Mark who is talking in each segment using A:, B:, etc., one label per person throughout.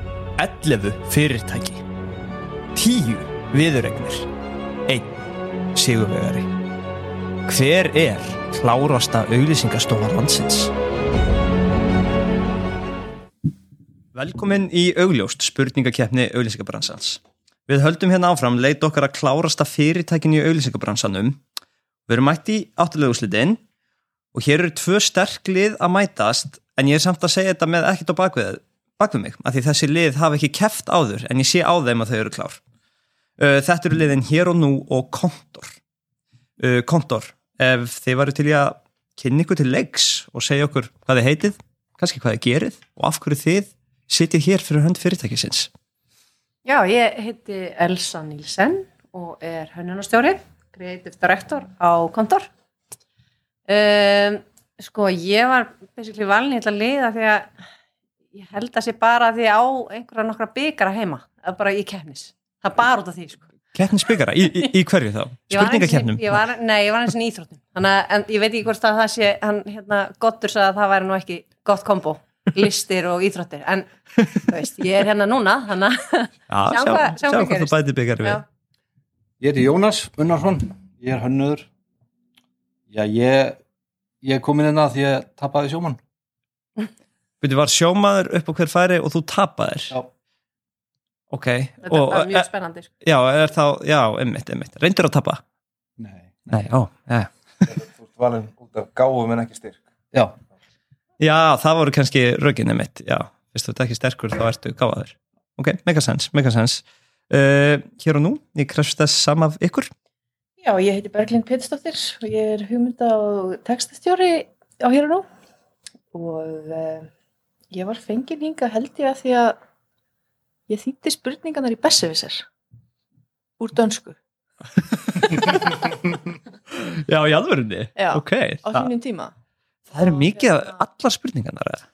A: 11 fyrirtæki 10 viðuregnir 1 sigurvegari Hver er klárasta auglýsingastofa landsins? Velkomin í augljóst spurningakeppni auglýsingabransans. Við höldum hérna áfram leit okkar að klárasta fyrirtækinu í auglýsingabransanum. Við erum mætt í áttalegu úrslitin og hér eru tvö sterk lið að mætast en ég er samt að segja þetta með ekkert á bakvið, bakvið mig af því þessi lið hafa ekki keft áður en ég sé á þeim að þau eru klár. Uh, Þetta eru liðin hér og nú og kontor. Uh, Kontor, ef þið varu til í að kynni ykkur til leiks og segja okkur hvað þið heitið, kannski hvað þið gerið og af hverju þið sitjið hér fyrir hönd fyrirtækisins.
B: Já, ég heiti Elsa Nílsen og er hönnunarstjóri, creative director á kontor. Um, sko, ég var basically valin í þetta liða því að ég held að sé bara því á einhverja nokkra bygara heima, að bara í keppnis. Það er bara út af því, sko.
A: Keppnisbyggara, í, í, í hverju þá?
B: Ég var einu sinni-
A: Spurningakeppnum?
B: ég var- Nei, ég var eins og í íþróttum. Þannig að en ég veit ekki hvort að það sé, hann hérna, gottur sagði að það væri nú ekki gott kombo, listir og íþróttir. En, þú veist, ég er hérna núna, þannig að
A: Já,
B: Sjáum
A: sjá,
B: hvað-
A: sjá,
B: sjáum hvað
A: hvað þú
B: gerist.
A: bæti byggari við.
B: Já.
C: Ég heiti Jónas Unnarsson, ég er hönnöður. Já, ég, ég er komin inn að því ég tapaði sjómann.
A: Þú var sjómaður upp á hver færi og þú tapaðir.
C: Já.
A: Ok,
B: þetta
A: og
B: er bara
A: e,
B: mjög spennandi. sko.
A: já, er þá, já, einmitt, einmitt. Reyndur að tapa?
C: Nei.
A: Nei, ó, já.
D: Þú ert valinn út af gáfum en ekki styrk.
C: Já,
A: Já, það voru kannski rögin einmitt, já. Veist þú, þetta ekki sterkur, þá ertu gáðaður. Ok, mega sens, mega sens. Uh, hér og nú, ég krefst þess sama af ykkur.
E: Já, ég heiti Berglind Pétursdóttir og ég er hugmynda og textastjóri á hér og nú og uh, ég var fengin hinga held ég að því að ég þýtti spurningarnar í Bessevisar úr dönsku
A: Já, í alvörunni?
E: Já,
A: Ok,
E: á
A: það,
E: þínum tíma.
A: það er
E: og
A: mikið af
E: hérna-
A: allar spurningarnar. eða?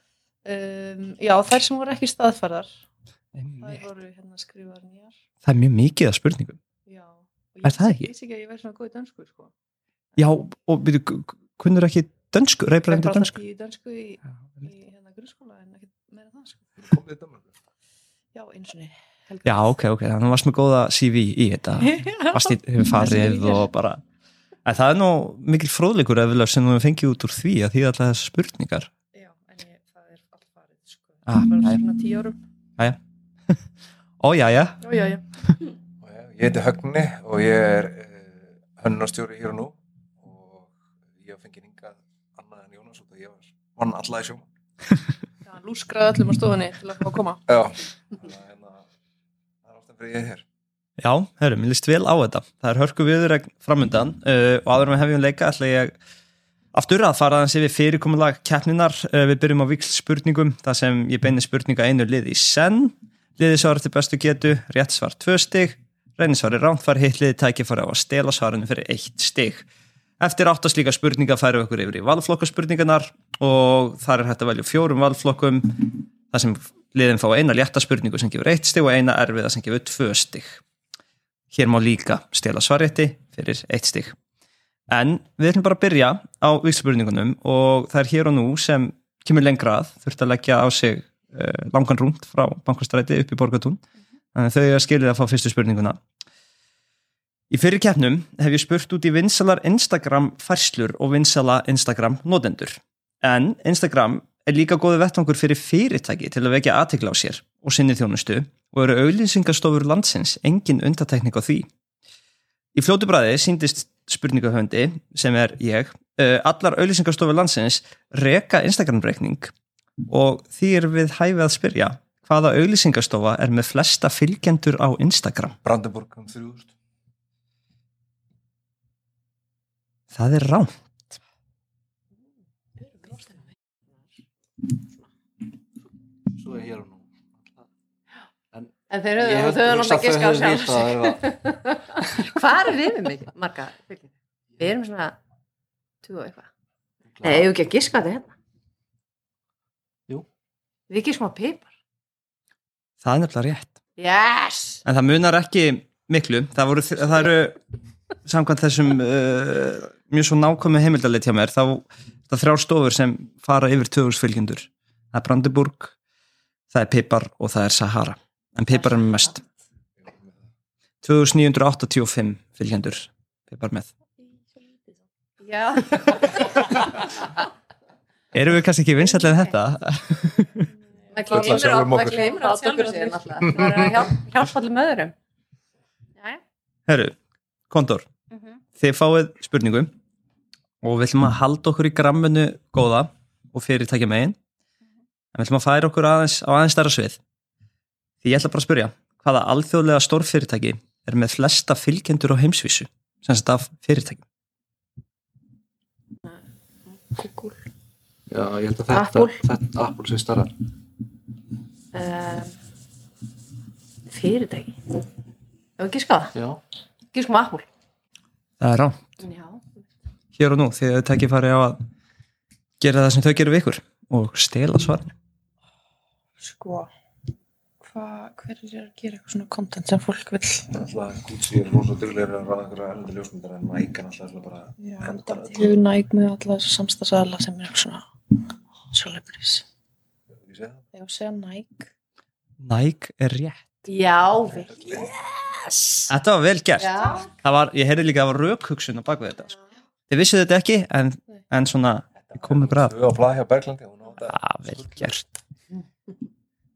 E: Um, já, þær sem voru ekki staðfærðar, þær
A: Einmitt.
E: voru hérna skrifaðar nýjar.
A: Það er mjög mikið af spurningum.
E: Já. og
A: Er það ekki?
E: Ég vissi ekki að ég verði svona góð í dönsku, sko.
A: Já, og byrju, kunnur ekki dönsku, reyfræðandi
E: alltaf
A: dönsku?
E: í dönsku í,
A: Já,
E: í hérna grunnskóla en ekki meira en það, sko.
D: Komið í Danmarku.
E: Já, eins og niður.
A: Já, ok, ok, þannig varst með góða CV í þetta, varst í hefur
E: Þessi
A: farið
E: líkir.
A: og bara en það er nú mikil fróðleikur efilega sem við fengið út úr því að því alltaf þessi spurningar
E: Já, en ég, það er allt farið, sko.
A: Ah,
E: það
A: já, já.
E: var svona tíu árum.
A: Ó, já, já,
E: Ó, já, já.
D: Og já, Ég heiti Högni og ég er uh, hönnunarstjóri hér og nú og ég fengi hingað annað en Jónas út af ég var vann alla í sjómann.
E: Já, hann lúskraði öllum á stofunni til að fá að koma.
D: Já. Þannig að hérna, það er alltaf fyrir ég hér.
A: já, herru, mér líst vel á þetta það er hörku viður framundan uh, og áður með hefjum leika ætla ég aftur að fara aðeins yfir fyrirkomulag keppninar, uh, við byrjum á vikl spurningum þar sem ég beini spurninga einu lið í senn liði svar til bestu getu, rétt svar tvö stig reynisvar er rámt far hitt liði tækifari á að stela svarinu fyrir eitt stig Eftir átt að slíka spurninga færum við okkur yfir í valflokkaspurningarnar og þar er hægt að velja úr fjórum valflokkum þar sem liðin fá eina létta spurningu sem gefur eitt stig og eina erfiða sem gefur tvö stig. Hér má líka stela svarrétti fyrir eitt stig. En við ætlum bara að byrja á vikspurningunum og það er hér og nú sem kemur lengra að þurft að leggja á sig uh, langan rúnd frá bankastræti upp í Borgatún. Þannig að þau er að skilja að fá fyrstu spurninguna. Í fyrir keppnum hef ég spurt út í vinsalar Instagram færslur og vinsala Instagram notendur. En Instagram er líka góðu vettvangur fyrir fyrirtæki til að vekja aðtekla á sér og sinni þjónustu og eru auðlýsingastofur landsins engin undatekning á því. Í fljótu bræði síndist spurningahöndi sem er ég, eh, allar auðlýsingastofur landsins reka Instagram-reikning og því er við hæfið að spyrja hvaða auðlýsingastofa er með flesta fylgjendur á Instagram?
D: Brandenburg um 3000.
A: Það er rám.
C: svo er hér og nú.
B: En þeir eru,
C: Ég
B: þau eru
C: hugsa
B: náttúrulega
C: að
B: giska á
C: þau hefðu
B: sjálf.
C: vitað að það
B: Hvað er við mikið, marga? fylgjendur? Við erum svona tjú og eitthvað. Nei,
C: var-
B: eigum við ekki að giska á þetta hérna.
C: Jú.
B: Við giskum á pipar.
A: Það er nefnilega rétt.
B: Yes!
A: En það munar ekki miklu. Það, voru, það eru, samkvæmt þessum uh, mjög svo nákvæmi heimildalit hjá mér, þá það þrjár stofur sem fara yfir 2000 fylgjendur. Það er Brandenburg, það er Pipar og það er Sahara. en pipar er með mest 2985 fylgjendur pipar með
B: Já,
A: erum við kannski ekki vinsætlega þetta
B: maður
D: Fulla
B: gleymir
D: sjálfum
B: á- maður
D: okkur.
B: gleymir á sjálfur sér náttúrulega. Það er að hjálp- hjálpa allir möðurum Jæja
A: herru, kontor
B: mhm.
A: þið fáið spurningu og við ætlum að halda okkur í gramminu góða og fyrirtækja megin en við ætlum að færa okkur aðeins, á aðeins stærra svið því ég ætla bara að spyrja hvaða alþjóðlega stórfyrirtæki er með flesta fylgjendur á heimsvísu sem sagt af fyrirtæki
E: Google.
C: Já, ég held að
E: Apple.
C: þetta Apple sé starra.
B: uh, Fyrirtæki Ef við gíska á það,
C: Já.
B: gískum Apple
A: það er rán,
B: Já,
A: hér og nú því að þau tekja farið á að gera það sem þau gerum við ykkur og stela svarinu
E: Sko, hva, hver er að gera eitthvað svona content sem fólk vil?
D: Alltaf Gucci er rosa duglegur að ráða einhverja erlendu ljósmyndar en Nike er alltaf bara
E: Já,
D: En
E: þetta
D: bara-
E: hefur næg með alla þessu samstagsæðla sem er eitthvað svona celebrities.
D: ég sé það.
E: Ég var að segja næg.
A: Nike er rétt
B: já við
A: þetta var vel gert
B: Já,
A: það var, ég heyrði líka að það var rökhugsun á bakvið þetta sko. þið vissuðu þetta ekki en, en svona, ég kom ykkur að
D: Tvö á blað hjá Berglandi og hún á þetta
A: Já, vel gert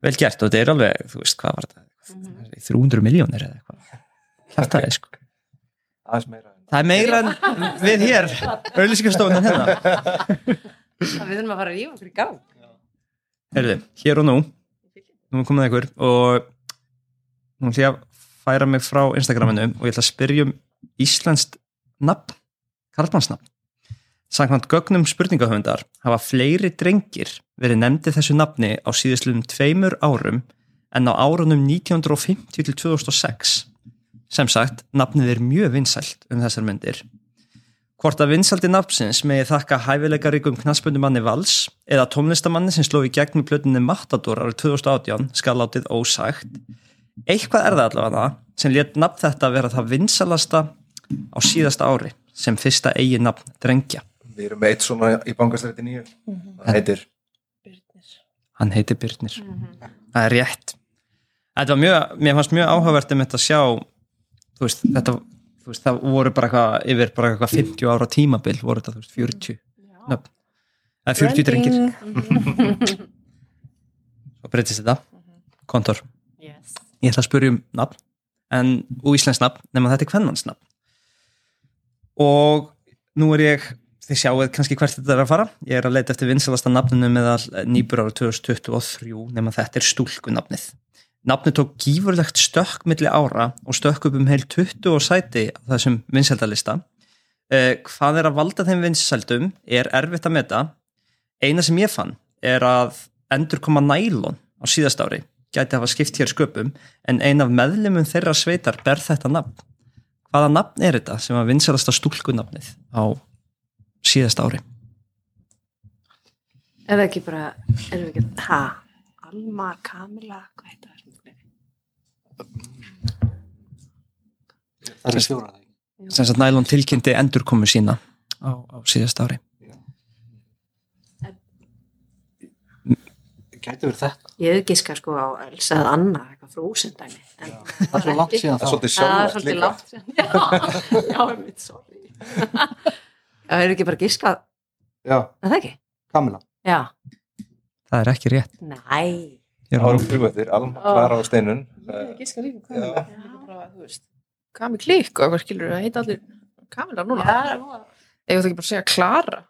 A: Vel gert og þetta er alveg, þú veist hvað var þetta
B: Mhm.
A: 300 miljónir eða eitthvað Hjartaði sko
D: aðeins meira en
A: Það er meira en við hér Ölýsingastofunan hérna
B: við þurfum að fara að rífa okkur í gang
A: Herði, hér og nú Nú er komið ykkur og nú ætlum ég að færa mig frá Instagraminu og ég ætla að spyrja um Íslenskt nafn Karlmannsnafn Samkvæmt gögnum spurningahöfundar hafa fleiri drengir verið nefndi þessu nafni á síðustlum tveimur árum en á árunum 1950 til 2006. Sem sagt, nafnið er mjög vinsælt um þessar myndir. Hvort að vinsaldi nafnsins megi þakka hæfileikaríkum knaspundumanni Vals eða tónlistamanni sem sló í gegn með plötunni Matador árið 2018 skal látið ósagt. Eitthvað er það allavega sem létt nafn þetta vera það vinsalasta á síðasta ári sem fyrsta eigin nafn drengja.
D: við erum með eitt svona í bankastræti nýju það heitir
E: Birnir.
A: Hann heiti Birnir. Það er rétt. Þetta var mjög, mér fannst mjög áhugavert um þetta að sjá, þú veist, þetta, þú veist, það voru bara eitthvað, yfir bara eitthvað 50 ára tímabil, voru þetta, þú veist, 40 nöfn. Það er 40 drengir, svo breytist þetta, kontor.
B: Yes
A: Ég ætla að spyrja um nafn, en úr íslensk nafn, nema þetta er kvennans nafn. Og nú er ég, þið sjáuð kannski hvert þetta er að fara, ég er að leita eftir vinsalasta nafninu meðal nýbur ára 2023, nema þetta er stúlkunafnið. Nafnið tók gífurlegt stökk milli ára og stökk upp um heil 20 og sæti á þessum vinsældalista. Uh, hvað er að valda þeim vinsældum er erfitt að meta. Eina sem ég fann er að endur koma nælon á síðast ári gæti hafa skipt hér sköpum en ein af meðlumum þeirra sveitar ber þetta nafn. Hvaða nafn er þetta sem að vinsælasta stúlkunafnið á síðast ári?
B: Er það ekki bara, erum við ekki, ha, Alma, Kamila, hvað heitir það?
C: Það er fjóra það.
A: Sem sagt nælon tilkynnti endurkomu sína á, á síðast ári.
C: Gæti verið þetta.
B: Ég hef giska sko á Elsa eða Anna, eitthvað frósendæmi. en
C: Það er svo langt
B: ekki-
C: síðan
D: það er
C: þá.
B: Það
D: svolítið
B: er
D: sjálfvægt
B: svolítið
D: líka
B: látt síðan. Já, já, ég mitt, sorry. Já, erum við ekki bara giska,
C: Já,
B: er það ekki?
C: Kamila.
B: Já,
A: Það er ekki rétt.
B: næ,
A: Ég er að-
D: árum þrjú eftir, Alma, Klara og Steinun
E: Ég gíska líka
D: Kamila.
E: Kamila. Bara, þú veist, Kamil Klík og eitthvað skilur það heita allir Kamila núna.
B: Já, það er nú að-
E: Ég veit ekki bara að segja Klara.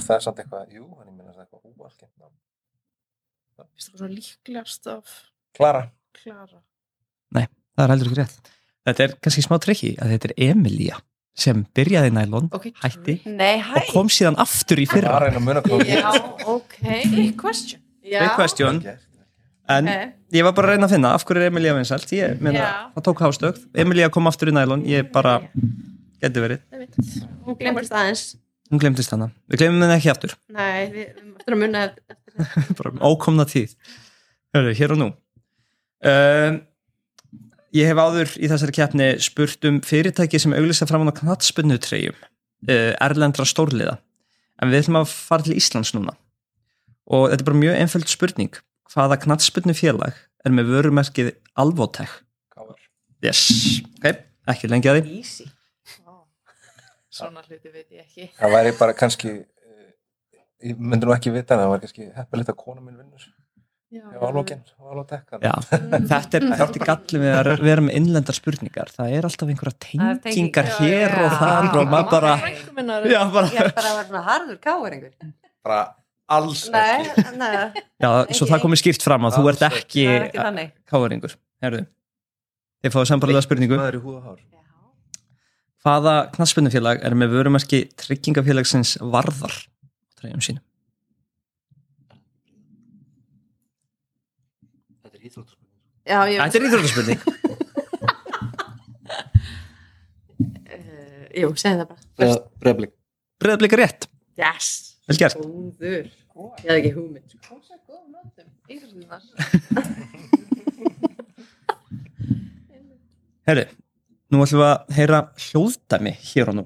D: það er samt eitthvað, jú, hann ég minna það er eitthvað óvalkjönd
E: Vist það svona líklegast af
D: Klara,
E: Klara.
A: Það er heldur ekki rétt. Þetta er kannski smá trikki að þetta er Emilia sem byrjaði í nælon
E: Ok.
A: Hætti.
B: Nei, hæ,
A: og kom síðan aftur í
D: það er
A: fyrra.
D: einu að muna hvað
B: já, ok,
E: Hey, question.
B: já,
A: Great question. En
B: ok,
A: ég var bara að reyna að finna af hverju er Emilia vinsælt. Ég meina,
B: Já.
A: það tók hástökt. Emilia kom aftur í nælon. Ég bara, geti verið.
E: Nei, veit.
B: hún glemist aðeins.
A: Hún glemtist hana. Við glemum henni ekki aftur.
B: Nei, við við erum eftir að munna eftir.
A: bara um ókomna tíð Hörðu, hér og nú um, ég hef áður í þessari keppni spurt um fyrirtæki sem auglýsa fram á knatspunnutreyjum uh, erlendra stórliða en við ætlum að fara til Íslands núna og þetta er bara mjög einföld spurning hvaða knatspunnufélag er með vörumerkið Alvotech
D: Káar.
A: yes, ok, ekki lengi að því
E: Easy. Vá. Svona hluti veit ég ekki.
D: Það væri bara kannski, eh, ég myndi nú ekki vita en það var kannski heppilegt að kona mín vinnur.
E: Já,
D: Ég var alókin, var alótekkan.
A: Já, þetta er, þetta er gallið við að vera með innlendar spurningar það er alltaf einhverja
B: Það er tenging-
A: tengingar hér
B: Já,
A: og
E: Ah.
A: þar
B: já,
A: og maður bara,
E: Frænkuminnar.
A: já, bara
B: Ég er bara að vera svona harður káur einhver.
D: Bara alls
B: Nei,
D: ekki.
B: neða,
A: já, svo það komið skýrt fram að þú ert ekki
B: það er ekki þannig.
A: káringur, herðu þið fáið sambarlega spurningu
D: Það er í húða hár.
A: hvaða knaspunnufélag er með vörumarki tryggingafélagsins varðar á treyjum sínum
C: Þetta er íþróttaspurning.
B: Já, ég,
A: þetta er íþróttaspurning,
B: uh, jú, segðu það bara.
C: Breð- Breiðablik.
A: breyðablika rétt
B: Yes.
A: vel gert,
B: Góður. Ég hef ekki húmið.
E: Rósa góðum náttum. Íþróttunar.
A: herðu nú ætlum við að heyra hljóðdæmi hér og nú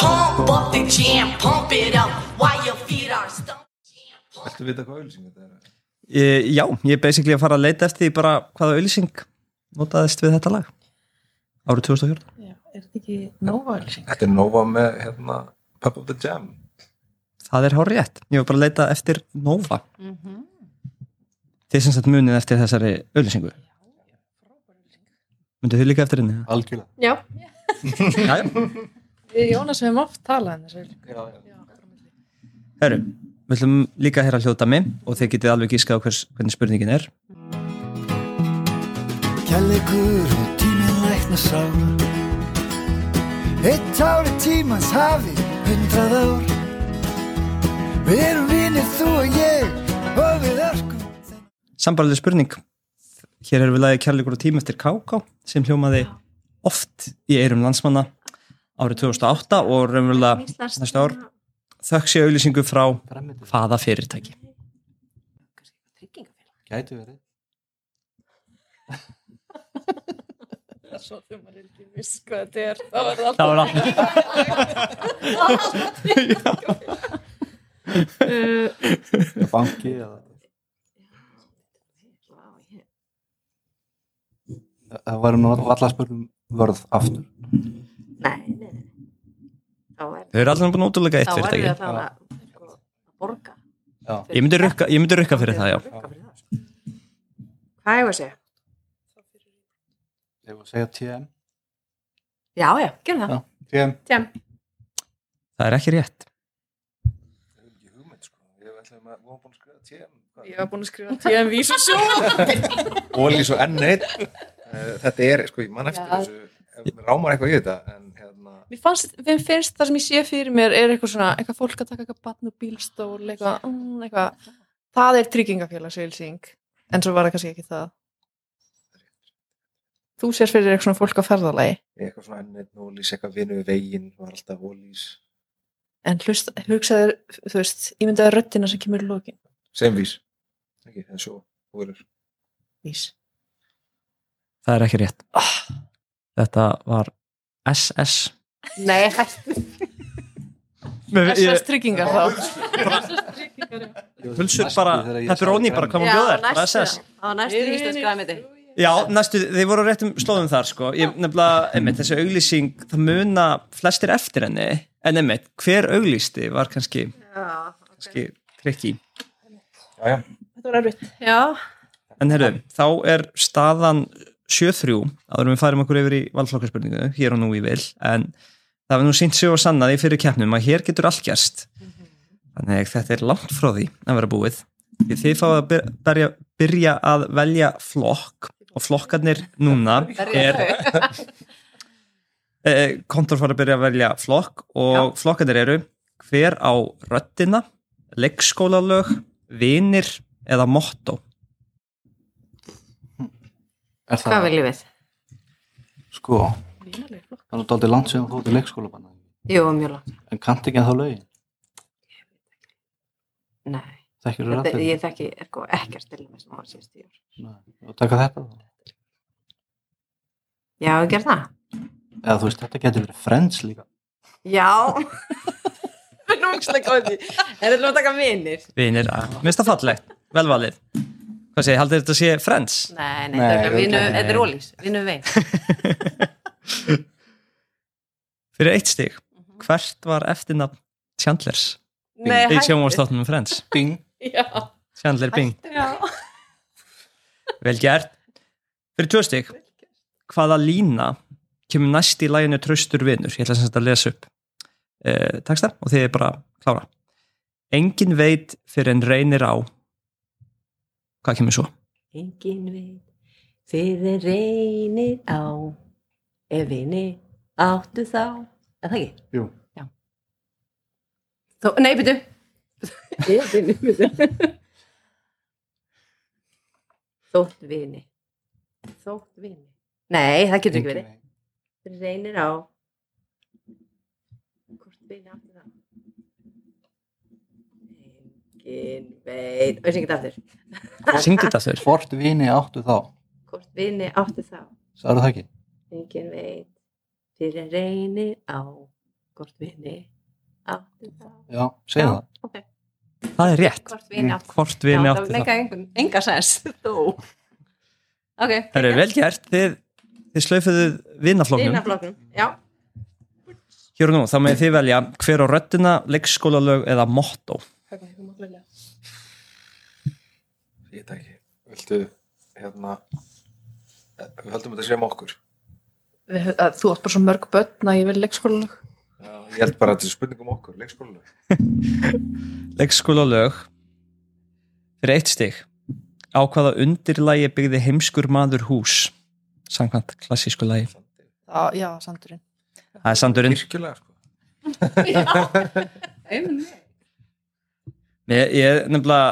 F: Pump up the jam, pump it up while your feet are stumped.
D: Viltu vita hvað auðlýsing þetta er?
A: e, já, ég er basically að fara að leita eftir því bara hvaða auðlýsing notaðist við þetta lag árið 2014
E: Já, er þetta ekki nóvalsing?
D: Þetta er Nova með hérna Pep of the Jam.
A: Það er hár rétt. Ég var bara að leita eftir Nova. Mm -hmm. Þið sem sett munið eftir þessari auðlýsingu. Myndu þið líka eftir henni?
C: Algjörlega.
B: Já.
A: Jæja.
E: Við Jónas höfum oft talað um þessu.
A: Herru, við ætlum líka að heyra hljóðdami og þið getið alveg gískað á hvers, hvernig spurningin er.
G: Kærleikur og tíminn lækna sár Eitt ári tímans hafi hundrað ár Við erum vinir þú og ég og við örkum
A: Sambarlega spurning. Hér erum við lagið kærleikur og tím eftir KK sem hljómaði oft í eirum landsmanna árið 2008 og raunverulega næsta ár þökk sé auðlýsingu frá
C: Fremmitur.
A: hvaða fyrirtæki.
B: Tryggingafélag.
C: Gæti verið.
E: Svo þegar maður er ekki viss hvað þetta er. Það var alltaf.
A: Það var allt.
C: Banki eða... Það varum nú alltaf spurning um vörð aftur.
B: Nei, nei, nei. Þá er-
A: Þau eru allan búin að útlulega eitt
B: þá erum við
A: fyrirtæki.
B: að það að sko, að borga.
C: Já.
A: Ég myndi rukka, ég myndi rukka fyrir það, já.
B: Rukka fyrir það, sko. Hvað hefur að segja?
C: Þegar við segja TM.
B: Já, já, gerum það.
C: Já. TM.
B: Tjám.
A: Það er ekki rétt.
D: Ég hef ekki hugmynd sko. Ég ætlaði með, við varum búin að skrifa TM.
E: Ég var búin að skrifa TM Vísu sjó.
D: Ólís og N1. Eh, Þetta er, sko, ég man eftir
E: Já.
D: þessu. Ef mér rámar eitthvað í þetta, en hérna...
E: Mér, fannst, mér finnst það sem ég sé fyrir mér er eitthvað svona, eitthvað fólk að taka eitthvað barn og bílstól, eitthvað, mm, eitthvað. Það er tryggingafélagsveilsing, en svo var það kannski ekki það. Þú sérst fyrir þér eitthvað svona fólk á ferðalagi,
D: eitthvað svona ennett og lýsa eitthvað vinnu við veginn var alltaf ólýs
E: en hlust, hugsaður, þú veist, ég myndaði röddina sem kemur í lokin.
D: sem vís ekki, það er sjó úrur
E: Vís.
A: Það er ekki rétt. Þetta var SS.
B: Nei, hættu.
E: SS tryggingar þá.
A: Hulsur bara, pepperoni bara, hvað má
B: Já,
A: bjóða þér?
B: næstu.
A: Bara SS.
B: Á næstu íslenska aðmyndi.
A: Já, næstu, þeir voru á réttum slóðum þar, sko. Ég nefnilega, einmitt, þessi auglýsing, það muna flestir eftir henni, en einmitt, hver auglýsti var kannski,
B: Já,
A: kannski krikki.
D: jájá,
E: Þetta var erfitt.
B: já.
A: En herru, þá er staðan 7-3, áður en við farum okkur yfir í valflokkarspurningu, hér og nú í vil, en það var nú sínt sig og sannað í fyrir keppnum að hér getur allt gerst. Þannig að þetta er langt frá því að vera búið. Því þið fáið að byr- berja, byrja að velja flokk og flokkarnir núna er eh, kontor fara að byrja að velja flokk og flokkarnir eru hver á röddina, leikskólalög, vinir eða motto.
C: Er
B: Hvað
C: það,
B: viljum við?
C: sko, það er nú aldrei langt sem þú ert í leikskóla banna.
B: Jú, mjög langt.
C: En kannt ekki að þá lögin.
B: Nei.
C: þekkir þú
B: Þetta,
C: rættir
B: ég þekki sko, ekkert til þess að hafa síðast tíu ár.
C: og taka þetta þá.
B: Já, ég ger það.
C: eða þú veist, þetta getur verið friends líka
B: Já. Við erum ógislega góði. En þetta er að taka vinir.
A: vinir, að- mér finnst það fallegt, velvalið hvað segir, haldið þetta sé Friends?
B: Nei, nei,
C: Nei,
B: þetta er
C: örugglega
B: vinu,
C: ekki, nei.
B: þetta er ólís. Vinu vein.
A: fyrir eitt stig, hvert var eftirnafn Chandlers
B: Nei,
A: í sjónvarsþáttunum Friends
C: Bing.
B: Já.
A: Chandler Bing,
B: Já.
A: vel gert fyrir tvö stig hvaða lína kemur næst í læginu Tröstur vinur, ég ætla sem sagt að lesa upp uh, texta og þið er bara að klára engin veit fyrir en reynir á hvað kemur svo?
B: Engin veit fyrir reynir á ef vini áttu þá Er það ekki?
C: Jú.
B: Já. Þó, nei, byrju Ef vini, byrju Þótt vini Þótt vini Nei, það getur ekki verið Fyrir reynir á Hvort vini áttu þá Engin veit Og ég syngi þetta aftur
A: syngdu þetta þurr
C: hvort vini áttu þá
B: Hvort vini áttu þá
C: sagði það ekki
B: engin veit fyrir en reynir á hvort vini áttu þá
C: já, segja
B: Já.
C: það
A: það er rétt,
B: hvort vini Mm. áttu
A: hvort vini áttu það
B: það enga, enga sens þó ok,
A: það eru vel gert, þið, þið slöfuðu vinaflóknum
B: vinafloknum já,
A: Hér og nú, þá með þið velja hver á röddina, leikskólalög eða motto.
D: Ég veit það ekki. Viltu, hérna, eh, við höldum þetta sem okkur.
E: Við, að, þú átt bara svo mörg börn að ég vil leikskóla
D: Já, ég held bara að þetta er spurningum okkur, leikskóluleg.
A: Leikskólalög fyrir eitt stig. Á hvaða undirlægi byggði heimskur maður hús? Samkvæmt klassísku lægi.
E: Á, já, sandurinn.
A: Það er sandurinn.
D: Kirkjulega, sko.
A: Ég, ég nefnilega,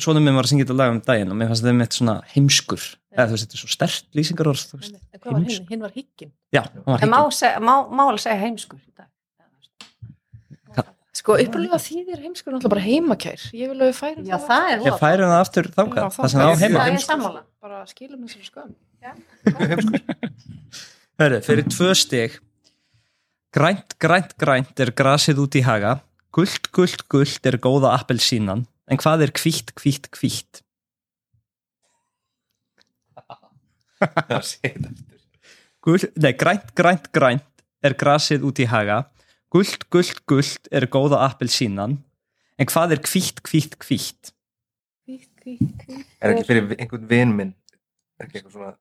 A: svona minn var að syngja þetta lag um daginn og mér fannst þetta mitt svona heimskur. Eða þú veist, þetta er svo stert lýsingar orð. Þú veist.
E: En hvað var hinn?
A: Heimsk.
E: Hinn var higgin.
A: Já, hann var
B: en má,
A: hýttum.
B: seg, má, má alveg segja heimskur í dag.
E: Sko, uppalega þýðir heimskur náttúrulega bara heimakær. Ég vil að við færum
B: já, það er
A: Ég færi hann aftur
E: Já,
A: þangað,
E: þangað.
A: það sem það á
B: það
A: heima.
B: er ég sammála
E: Bara skilum þessari skömm.
A: Hörru, fyrir tvö stig Grænt, grænt, grænt er grasið út í haga Gullt, gullt, gullt er góða appelsínan En hvað er hvítt, hvítt, hvítt?
D: Það segir þetta eftir.
A: Gull, nei, grænt, grænt, grænt er grasið út í haga Gullt, gullt, gullt er góða appelsínan En hvað er hvítt, hvítt, hvítt?
E: Hvítt, hvítt, hvítt.
D: Er ekki fyrir einhvern vin minn, er ekki eitthvað svona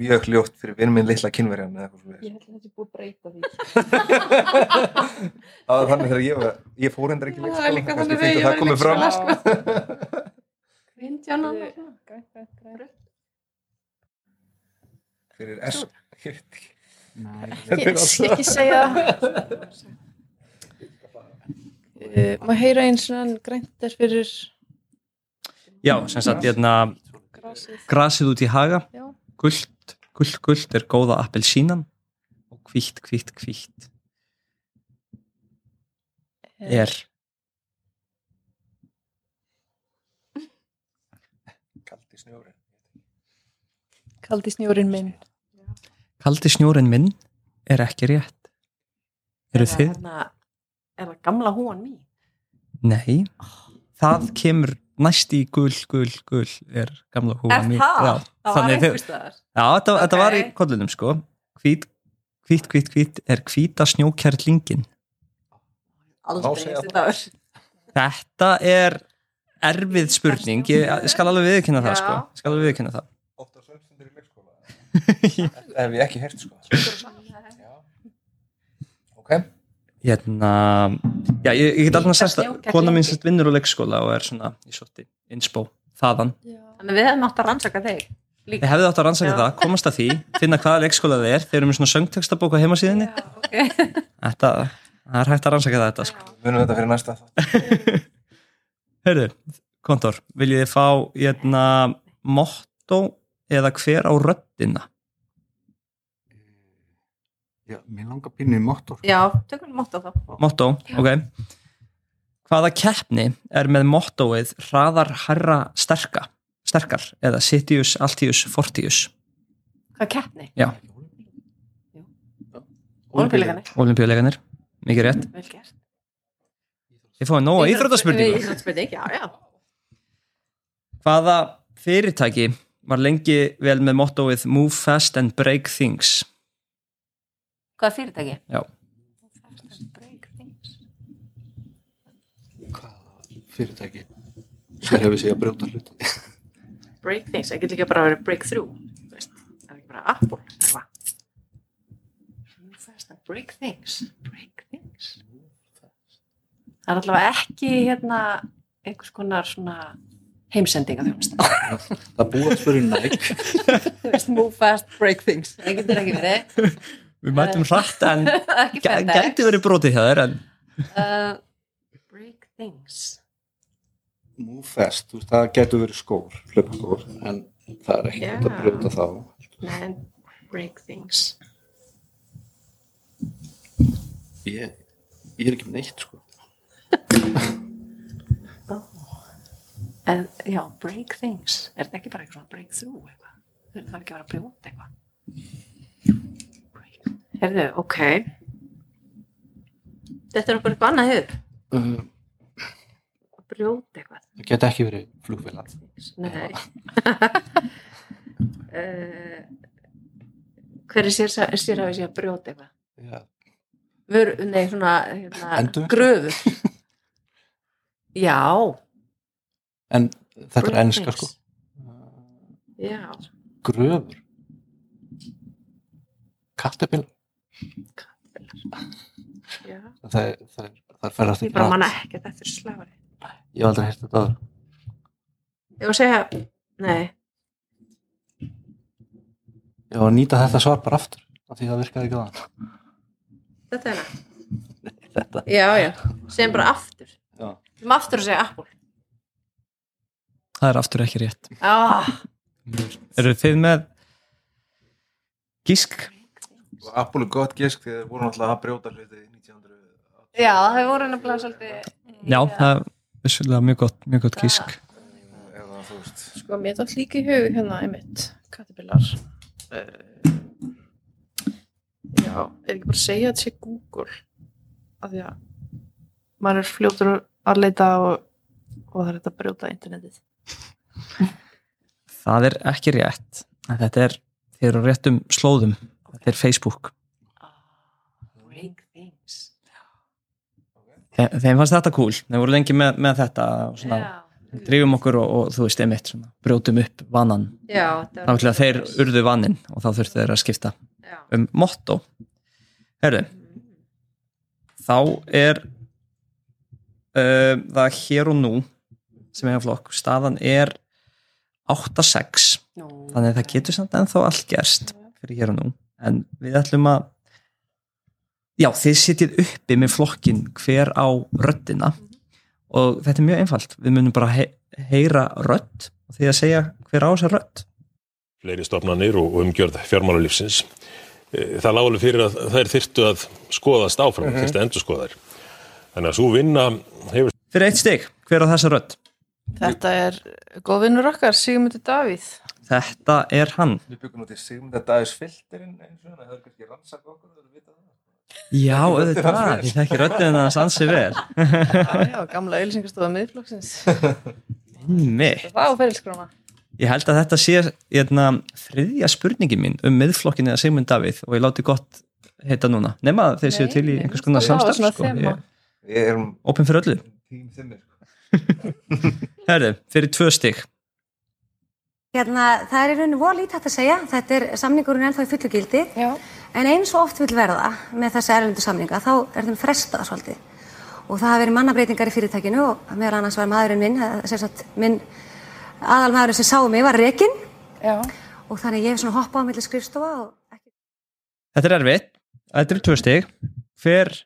D: mjög hljótt fyrir vin minn litla kynverjan eða eitthvað svona.
E: Ég held að þetta er búið að breyta því.
D: Það var þannig þegar ég var, ég fór hendur ekki í
B: það er
D: leikskóla,
B: líka
D: kannski
B: þannig þegar ég var
D: fengur það
B: í
D: komið fram.
B: leikskóla
E: fram.
B: sko. Indjána
E: Grænt, grænt, grænt.
D: Fyrir S, ég veit ekki.
C: Nei,
E: Ekki, ekki segja uh, maður heyra eins og hann grænt er fyrir
A: Já, sem sagt, hérna
E: grasið
A: grasið út í haga
E: Já.
A: Gullt, gullt, gullt er góða appelsínan Og hvítt, hvítt, hvítt er
D: Kaldi snjóri.
E: kaldi snjórin minn
A: Kaldi snjórin minn er ekki rétt. Eru þið?
B: er það gamla hún mín
A: Nei.
B: Ah.
A: Það kemur næst í gul, gul, gul er gamla húfa
B: er
A: mín.
B: það?
A: Já,
B: það
A: þannig
B: var
A: þau-
B: einhvers staðar
A: já þetta, þetta var í
B: Ok.
A: kollunum sko. Hvít, hvít, hvít, hvít er hvíta snjókjærlingin.
D: Má
B: aldrei
D: segja
B: heyrst þetta ár
A: Þetta er erfið spurning. Ég ég skal alveg viðkynna það
B: Já.
A: sko. Ég Skal alveg viðkynna það.
D: Ótt á sömstundir í leikskóla. Þetta hef ég ekki hert, sko. Já. Ok.
A: Hérna, já, ég, ég get alveg
B: Hvíta
A: sagt að kona mín
B: snjókjærlingin.
A: sett vinnur á leikskóla og er svona í sorti, innspó, þaðan.
B: Þannig að við hefum átt að rannsaka þeir
A: Þið hefðu átt að rannsaka
B: Já.
A: það, komast að því, finna hvaða leikskóla það er, þeir eru með svona söngtekstabók á heimasíðinni.
B: okay.
A: Þetta, það er hægt að rannsaka það þetta. Sko.
D: Munum þetta fyrir næsta þátt.
A: Hörðu, kontor, viljið þið fá hérna motto eða hver á röddina?
C: já, mér langar pínu í motor
B: Já, tökum við mótt á þá
A: Motto, ok. Hvaða keppni er með mottóið hraðar herra sterka, sterkar eða Sitius, Altius, Fortius
B: Hvað keppni?
A: Já,
B: Olbíleikarnir,
A: olimpíuleikanir, mikið rétt
B: vel gert.
A: Ég fóði nóga íþróttaspurningu
B: Íþróttaspurning, já, já.
A: Hvaða fyrirtæki var lengi vel með mottóið Move fast and break things
B: Hvað er fyrirtæki?
A: Já,
C: fyrirtæki sem hefur sig að brjóta hluti
H: break things, það getur líka bara að vera breakthrough þú veist, það er ekki bara Apple eða hvað? Move fast and break things break things
B: Það er allavega ekki hérna einhvers konar svona heimsendinga þjónusta.
C: það búið um spyrir næk
B: Þú veist, move fast, break things. Það getur ekki verið.
A: við mætum hratt en
B: Það er ekki
A: gæ-
B: FedEx.
A: gæti verið brotið hjá þér en
B: Uh, break things.
C: move fast, þú veist, það getur verið skór hlöpskór, en það er ekki
H: Já.
C: hægt að brjóta þá
H: Nei, break things
C: ég, ég er ekki með neitt sko
H: en, já, Eh, break things er þetta ekki bara eitthvað svona breakthrough eitthvað það er ekki bara að brjóta eitthvað Break- Heyrðu, ok Þetta er okkur eitthvað annað hefur
C: uh,
H: að brjóta eitthvað
C: það geta ekki verið flugvélar
H: Nei uh, Hver er sér, sér að sé að brjóta eitthvað?
C: Já.
H: Vör, nei, svona hérna,
C: Endurvinnsla?
H: gröfur Já
C: en þetta er
H: break
C: enska sko
H: things. Já,
C: gröfur kattepil
H: já
C: það er, það er, það er ferðast
H: Ég bara manna ekki að þetta er slafari
C: ég hef aldrei hægt þetta áður.
H: Ég var að segja, nei,
C: ég var að nýta þetta svar bara aftur af því það virkaði ekki þannig
H: þetta er hana
C: þetta,
H: Já, já, segjum bara aftur
C: já,
H: Við erum aftur að segja Apple
A: það er aftur ekki rétt
H: ah,
A: Eru þið með gísk?
D: Og Apple er gott gisk því þeir voru náttúrulega að brjóta hluti í 1900
B: Já, þau voru nefnilega svolítið...
A: Já, það er vissulega mjög gott, mjög gott gísk
D: eða þú veist
E: Sko, mér þátt líka í hug hérna einmitt, kattibillar. Uh, Eh, já, er ekki bara að segja þetta sé Google. Af því að maður er fljótur að leita og, og það er þetta að brjóta internetið.
A: Það er ekki rétt en þetta er, þið eru á réttum slóðum þetta er Facebook
B: Break things.
A: Þe- Þeim fannst þetta cool, þeim voru lengi með, með þetta og svona,
B: Já,
A: drifum okkur og, og þú veist, einmitt, svona, brjótum upp vanan,
B: já þetta var-
A: þannig að þeir urðu vanin og þá þurftu þeir að skipta
B: Já.
A: um motto Herðu þá er uh, það hér og nú sem eiga flokk, staðan er 8-6
B: Nú,
A: þannig að það getur samt ennþá allt gerst fyrir hér og nú en við ætlum að já, þið sitjið uppi með flokkin hver á röddina og þetta er mjög einfalt við munum bara he heyra rödd og því að segja hver á þessa rödd
I: fleiri stofnanir og og umgjörð fjármálalífsins. Eh, Það lág alveg fyrir að þær þyrftu að skoðast áfram, þyrftu að endur skoðar. Þannig að svo vinna hefur
A: fyrir eitt stig, hver á þessa rödd
E: Þetta er góðvinnur okkar, Sigmundur Davíð.
A: þetta er hann
D: Við byggum út í Sigmund að dagis filterinn eins og það er kannski rannsaka okkur það er vitað það
A: já, auðvitað, ég þekki röddina hans ansi vel
E: Já, já, gamla ölsingastofa miðflokksins.
A: Einmitt.
E: Það á ferilskrána.
A: ég held að þetta sé hérna, þriðja spurningi mín um miðflokkinni að Sigmund Davíð og ég láti gott heita núna, nema að þeir séu
E: Nei,
A: til í
E: nei,
A: einhvers konar
E: það var
A: samstarf
E: svona
A: sko.
E: þema.
A: ég,
D: Við erum
A: opin fyrir öllu
D: tím þimmir sko.
A: Herðu, fyrir tvö stig
J: Hérna, það er í rauninu voða lítið hægt að segja, þetta er samningurinn er ennþá í fullu gildi,
E: Já.
J: en eins og oft vil verða með þessa erlendu samninga, þá er þeim frestað svolítið. Og það hafa verið mannabreitingar í fyrirtækinu og meðal annars var maðurinn minn, eh, sem sagt minn aðal maðurinn sem sá um mig var rekinn
E: Já.
J: og þannig ég hef svona hoppað á milli skrifstofa og ekki...
A: Þetta er erfitt, þetta eru tvö stig Hver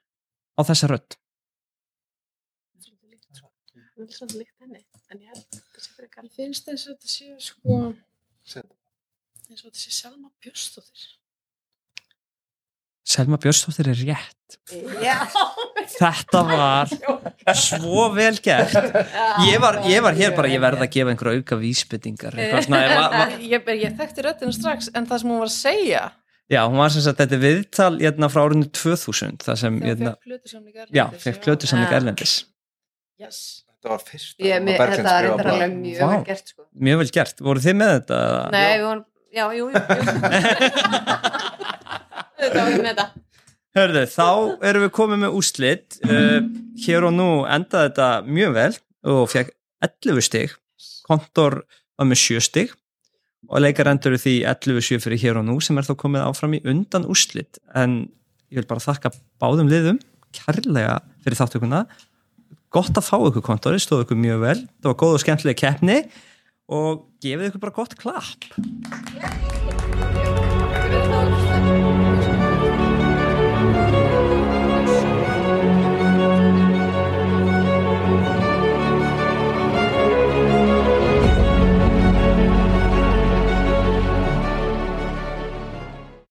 A: á þessa rödd
H: Það er svolítið líkt henni En ég held að þetta sé fyrir
E: Mér finnst eins og þetta sé sko
D: Sett.
E: eins og þetta sé Selma Björstóttir
A: Selma Björnsdóttir er rétt þetta var svo vel gert ég var, ég var hér bara, ég verð að gefa einhverja auka vísbyttingar eitthvað svona, ég var, var,
E: eh, ég, ég, ég þekkti röddina strax en það sem hún var að segja
A: já, hún var sem sagt, þetta er viðtal hérna, frá árinu 2000 það sem, hérna, já, fekk plötu samling erlendis
E: Eh, yes.
D: þetta var fyrst
B: Ég, mér, þetta er reyndar alveg mjög
A: Vá.
B: vel gert sko.
A: mjög vel gert, voru þið með þetta?
B: Nei, við vorum, já, jú, jú, jú. Þetta var við með þetta
A: Hörðu, þá erum við komið með úslit uh, Hér og nú endaði þetta mjög vel og fekk 11 stig Kontor var með 7 stig og leikar endur því 11-7 fyrir hér og nú sem er þá komið áfram í undan úslit en ég vil bara þakka báðum liðum kærlega fyrir þáttökuna gott að fá ykkur kontori, stóð ykkur mjög vel það var góð og skemmtilega keppni og gefið ykkur bara gott klapp
F: Thank you.